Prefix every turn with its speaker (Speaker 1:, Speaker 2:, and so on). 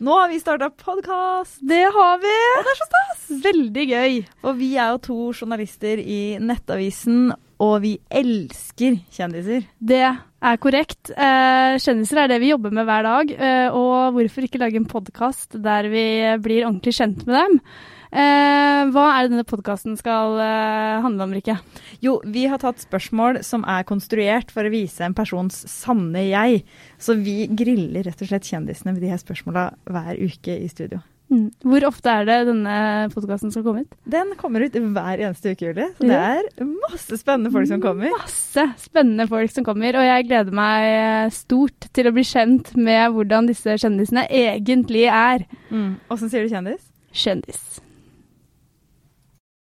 Speaker 1: Nå har vi starta podkast,
Speaker 2: Det har vi!
Speaker 1: og det er så stas!
Speaker 2: Veldig gøy.
Speaker 1: Og vi er jo to journalister i Nettavisen, og vi elsker kjendiser.
Speaker 2: Det er korrekt. Eh, Kjendiser er det vi jobber med hver dag. eh, Og hvorfor ikke lage en podkast der vi blir ordentlig kjent med dem? Eh, Hva er det denne podkasten skal eh, handle om, Rikke?
Speaker 1: Jo, vi har tatt spørsmål som er konstruert for å vise en persons sanne jeg. Så vi griller rett og slett kjendisene med de her spørsmåla hver uke i studio.
Speaker 2: Hvor ofte er det denne podkasten skal komme ut?
Speaker 1: Den kommer ut hver eneste uke, Julie. Så det
Speaker 2: Ja.
Speaker 1: er masse spennende folk som kommer.
Speaker 2: Masse spennende folk som kommer, og jeg gleder meg eh, stort til å bli kjent med hvordan disse kjendisene egentlig er.
Speaker 1: Mm. Åssen sier du kjendis?
Speaker 2: Kjendis.